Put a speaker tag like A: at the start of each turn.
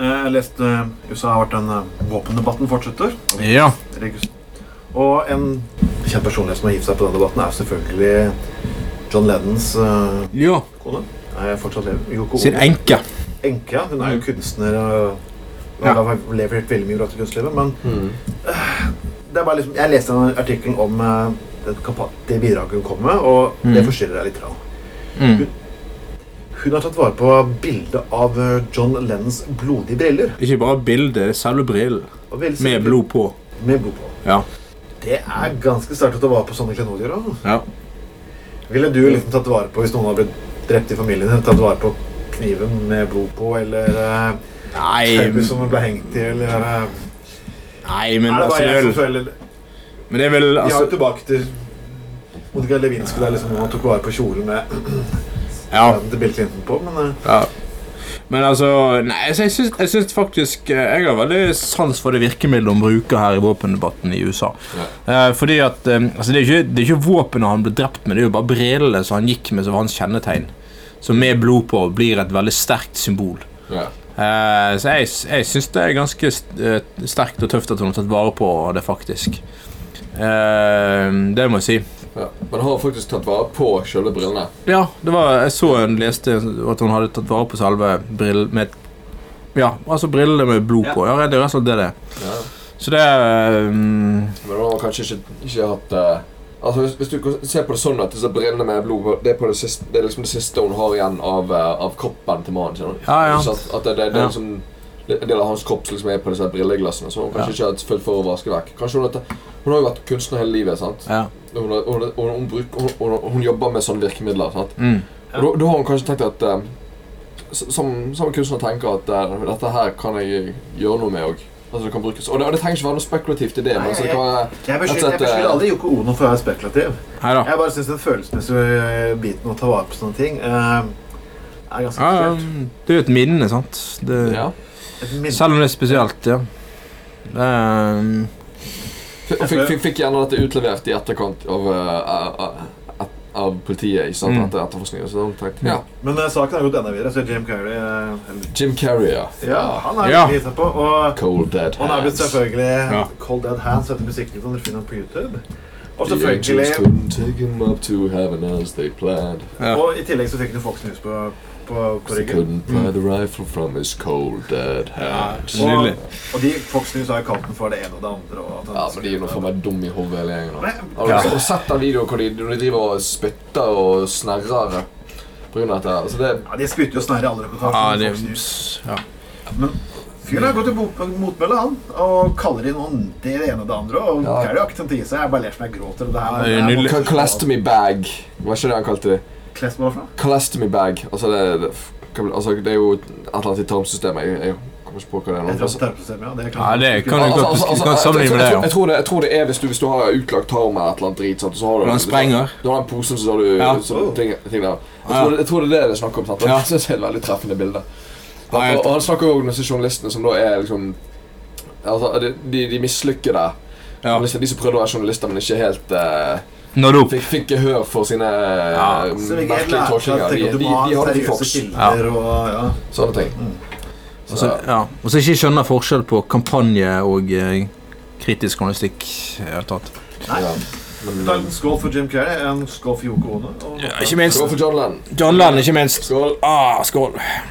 A: Eh, Jeg leste eh, i USA har vært den eh, våpendebatten fortsetter.
B: Ja.
A: Regus- Og en kjent personlighet som har gitt seg på den debatten, er selvfølgelig John Lennons eh,
B: ja.
A: kone. Nei, jeg fortsatt lever. Yoko
B: Sin
A: Ono.
B: enke.
A: Enke. ja. Hun er jo kunstner og og
B: Ja. Mm.
A: har levert veldig mye bra til kunstlivet. Men det er bare liksom, jeg leste en artikkel om eh, det, kampa- det bidraget hun kom med, og det
B: Mm.
A: forstyrrer deg litt. Rann.
B: Mm.
A: Hun har tatt vare på bildet av eh, John Lennons blodige briller.
B: Ikke bare bildet, det er selve brillen.
A: Og veldig
B: Med
A: sikkert-
B: blod på.
A: Med blod på.
B: Ja.
A: Det er ganske sterkt å ta vare på sånne klenodier. da.
B: Ja.
A: Ville du liksom tatt vare på hvis noen har blitt drept i familien din? Tatt vare på kniven med blod på, eller eh,
B: Nei,
A: tauet som ble hengt i, eller eh,
B: nei men,
A: Er det
B: altså,
A: bare
B: det er
A: jeg som
B: vel,
A: føler
B: men det er
A: De
B: vel
A: har jo
B: altså,
A: tilbake til Monica Lewinsky der liksom man tok vare på kjolen med
B: ja,
A: den til Bill Clinton på, men eh,
B: ja. Men altså Nei, altså, jeg syns, jeg syns faktisk eh, Jeg har veldig sans for det virkemidlet hun bruker her i våpendebatten i USA. Eh, fordi at eh, altså, det, er ikke, det er ikke våpenet han ble drept med, det er jo bare brillene som han gikk med som var hans kjennetegn. Som med blod på blir et veldig sterkt symbol.
C: Ja.
B: Eh, så jeg, jeg syns det er ganske st- eh, sterkt og tøft at hun har tatt vare på det, faktisk. Eh, det må jeg si.
C: Ja. Men han har faktisk tatt vare på selve brillene.
B: Ja, det var, jeg så hun leste at hun hadde tatt vare på selve brill med Ja, altså brillene med blod på. Ja, det er rett og slett det det er.
C: Ja.
B: Så det er mm,
C: Men han har kanskje ikke, ikke hatt eh, Altså hvis, hvis du ser på det sånn at disse brillene med blod på- Det er, på det, siste, det er liksom det siste hun har igjen av, eh, av kroppen til mannen sin.
B: Ja, ja.
C: Så at, at det, det, det
B: Ja.
C: er liksom det er en del av hans kropp som liksom er på disse brilleglassene. Så hun
B: Ja.
C: kanskje ikke har følt for å vaske vekk. Kanskje Hun har, tatt- hun har jo vært kunstner hele livet. sant?
B: Ja.
C: Hun, har- hun, hun, hun, bruk- hun, hun, hun jobber med sånne virkemidler. sant?
B: Mm,
C: Og Da, da har hun kanskje tenkt at eh, s- som, som kunstner tenker at eh, dette her kan jeg gjøre noe med òg. Altså, det kan brukes. Og det, og det trenger ikke være noe spekulativt i det. men
A: Nei,
C: altså, det kan være...
A: Jeg
C: Altså,
A: beskylder
C: at,
A: jeg beskylder
C: eh,
A: aldri Yoko Ono for å være spekulativ.
B: Nei da.
A: Jeg bare syns den følelsesmessige eh, biten å ta vare på sånne ting eh, er ganske
B: Ja, ja,
A: spesielt.
B: det er jo et minne, sant. Det,
C: Ja.
A: Et minne-
B: Selv om det er spesielt, ja. Det er, mm,
C: F- og Fikk, fikk, fikk gjerne dette utlevert i etterkant av, eh, eh, et- av politiet. ikke sant?
B: Mm.
C: Etter etterforskningen. Så da tenkte jeg, ja.
A: Men eh, saken har gått enda videre, så Jim Carrey eh, eller,
C: Jim Carrey, ja.
A: Ja, han er
B: Ja.
A: litt hissa på. Og
C: Cold Dead
A: han er blitt
C: Hands.
A: selvfølgelig
B: Ja.
A: Cold Dead Hands etter musikken som dere finner på YouTube. Og
C: The
A: selvfølgelig
C: angels couldn't take him up to heaven as they planned.
B: Ja.
A: Og i tillegg så fikk du Fox News på, på, på
C: They
A: ryggen.
C: couldn't pry the rifle from his cold dead hands.
B: Ja,
A: Og,
B: Nydelig.
A: og de Fox News har jo kalt den for det ene og det andre. Og at han-
C: Ja, men de er jo faen meg dumme i hodet hele gjengen. altså. da.
A: Nei.
C: Har du har du sett den videoen hvor de, når de driver og spytter og snerrer på grunn av dette? her? Altså, det
A: Ja, de spytter jo snarere i alle
B: ja,
A: reportasjer.
B: det
A: enn Fox News.
B: ja.
A: Men fyren har gått i bot- motmølle, han. Og kaller inn noen det ene og det andre. Og
C: Ja.
A: Carrie har ikke tenkt å gi seg. Jeg bare ler som jeg gråter. Og det her,
B: Det er nydelig.
C: Cal- Colostomy bag. Hva er det han kalte det?
A: Klest på hva for noe?
C: Colostomy bag. Altså, det, det, hva blir- altså, det er jo et eller annet i tarmsystemet. Jeg, jeg kommer ikke på hva det er. nå.
A: Jeg tror
C: Altså,
A: det er tarmsystemet, ja. Det
B: ja,
A: kan
B: det kan jeg
C: altså,
B: godt
C: altså,
B: Du
C: altså,
B: kan sammenligne
C: jeg,
B: med det,
C: jeg,
B: ja.
C: jeg, tror det, jeg tror det er hvis du, hvis du har utlagt tarm eller et eller annet drit sant, så har du,
B: Når han sprenger.
C: Du har den posen, så har du
B: Ja.
A: Oh.
C: sånne ting, ting der. Jeg,
B: Ja.
C: tror, det- jeg tror det er det det er snakk om. Sant? Og
B: Ja.
C: Jeg synes det er et veldig treffende bilde.
B: Ja, jeg-
C: Og, og han snakker jo om disse journalistene som da er liksom Altså, de, de, de mislykkede.
B: Ja.
C: Journalister- De som prøvde å være journalister, men ikke helt eh,
B: Nådd opp.
C: fikk, fikk gehør for sine
B: Ja.
C: eh,
A: Så vi ikke helt
C: merkelige
A: lærte at tenker sånn
C: tolkninger. De,
A: at
C: de,
A: du
C: de,
A: må ha
C: har det for
A: seriøse
C: Fox.
A: kilder og ja.
C: Sånne ting.
B: Mm. Og så ja. og så ikke skjønner forskjell på kampanje og eh, kritisk journalistikk. i det hele tatt.
C: ja.
A: Ta en skål for Jim Carrey, en skål for Yoko Ono. og-
C: eh,
B: ikke minst.
C: Skål for John Lennon.
B: John Land, ikke minst.
C: Skål.
B: Ah, skål.